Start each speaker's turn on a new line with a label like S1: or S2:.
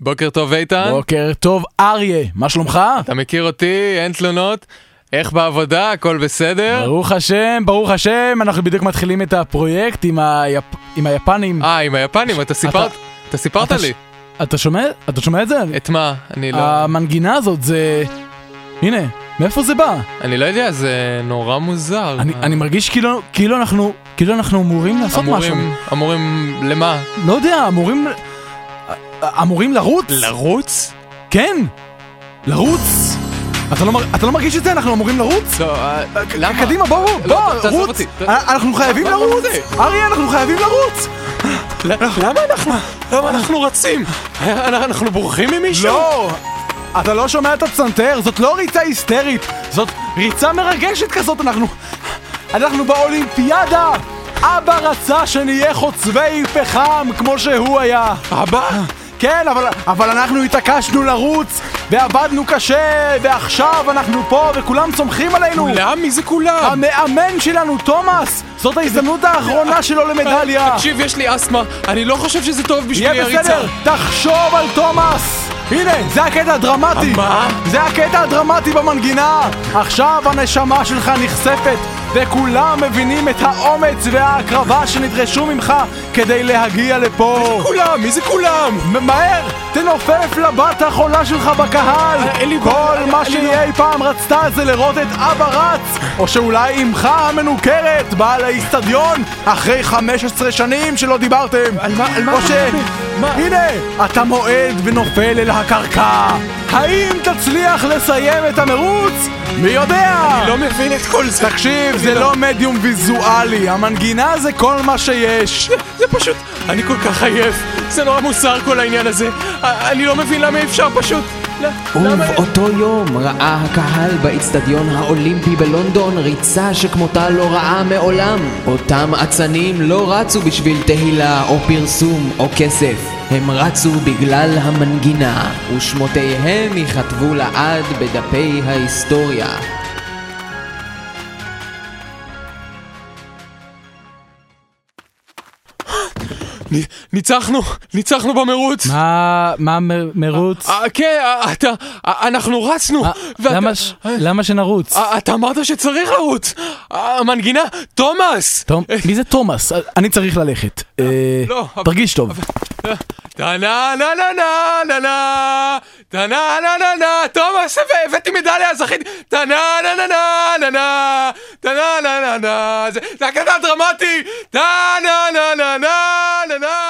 S1: בוקר טוב איתן,
S2: בוקר טוב, אריה, מה שלומך?
S1: אתה מכיר אותי, אין תלונות. איך בעבודה, הכל בסדר?
S2: ברוך השם, ברוך השם, אנחנו בדיוק מתחילים את הפרויקט עם, היפ... עם היפנים.
S1: אה, עם היפנים, אתה סיפרת, אתה סיפרת
S2: אתה ש- אה-
S1: לי.
S2: אתה שומע? אתה שומע את זה?
S1: את מה? אני לא,
S2: המנגינה הזאת זה... הנה, מאיפה זה בא?
S1: אני לא יודע, זה נורא מוזר.
S2: אני, אני מרגיש כאילו, כאילו, אנחנו, כאילו אנחנו אמורים לעשות
S1: אמורים,
S2: משהו.
S1: אמורים, למה?
S2: לא יודע, אמורים... אמורים לרוץ?
S1: לרוץ?
S2: כן, לרוץ. אתה לא, מר- אתה לא מרגיש את זה? אנחנו אמורים לרוץ?
S1: לא, אה, למה?
S2: קדימה, בואו, בואו,
S1: לא, תעזוב
S2: רוץ.
S1: אותי.
S2: אה,
S1: לא, ת-
S2: אנחנו חייבים
S1: מה- מה
S2: לרוץ.
S1: זה?
S2: אריה, אנחנו חייבים לרוץ. אה,
S1: למה אנחנו, למה אנחנו רצים? אנחנו בורחים ממישהו?
S2: לא! אתה לא שומע את הפסנתר, זאת לא ריצה היסטרית, זאת ריצה מרגשת כזאת, אנחנו... אנחנו באולימפיאדה! אבא רצה שנהיה חוצבי פחם כמו שהוא היה.
S1: אבא?
S2: כן, אבל, אבל אנחנו התעקשנו לרוץ, ועבדנו קשה, ועכשיו אנחנו פה, וכולם סומכים עלינו!
S1: כולם? מי זה כולם?
S2: המאמן שלנו, תומאס! זאת ההזדמנות האחרונה שלו למדליה!
S1: אה, תקשיב, יש לי אסתמה, אני לא חושב שזה טוב בשבילי
S2: יהיה
S1: הריצה.
S2: בסדר, תחשוב על תומאס! הנה, זה הקטע הדרמטי!
S1: מה?
S2: זה הקטע הדרמטי במנגינה! עכשיו הנשמה שלך נחשפת, וכולם מבינים את האומץ וההקרבה שנדרשו ממך כדי להגיע לפה!
S1: כולם, מי זה כולם?
S2: מ- מהר! תנופף לבת החולה שלך בקהל!
S1: אה, אין לי
S2: כל
S1: בעיה,
S2: מה
S1: אני
S2: שהיא
S1: לא-
S2: אי פעם רצתה זה לראות את אבא רץ! או שאולי אמך המנוכרת באה לאיצטדיון אחרי 15 שנים שלא דיברתם!
S1: על מה- על מה
S2: או
S1: אתה
S2: ש...
S1: מדבר? מה?
S2: הנה! אתה מועד ונופל אל הקרקע! האם תצליח לסיים את המרוץ? מי יודע!
S1: לא מבין את כל זה.
S2: תקשיב, זה לא מדיום ויזואלי, המנגינה זה כל מה שיש!
S1: זה פשוט, אני כל כך עייף, זה נורא מוזר כל העניין הזה, א- אני לא מבין למה אי אפשר פשוט, ל- למה...
S3: ובאותו יום ראה הקהל באיצטדיון האולימפי בלונדון ריצה שכמותה לא ראה מעולם. אותם אצנים לא רצו בשביל תהילה או פרסום או כסף. הם רצו בגלל המנגינה, ושמותיהם ייכתבו לעד בדפי ההיסטוריה.
S1: נ- ניצחנו, ניצחנו במרוץ.
S4: מה, אה, מה מ- מרוץ?
S1: אה, כן, אה, אתה, אה, אנחנו רצנו.
S4: אה,
S1: ואתה-
S4: למה ש- למה שנרוץ?
S1: אה, אתה אמרת שצריך לרוץ. אה, המנגינה, תומאס!
S4: תום-
S1: אה,
S4: מי זה תומאס?
S2: אני צריך ללכת. אה,
S1: לא, אבל-
S2: תרגיש טוב.
S1: טה נה נה נה נה נה נה טה נה נה נה נה תומאס הבא- הבאתי מדליה זכיתי טה נה נה נה נה נה נה טה נה נה נה נה זה זה הקטע הדרמטי טה נה נה נה נה נה נה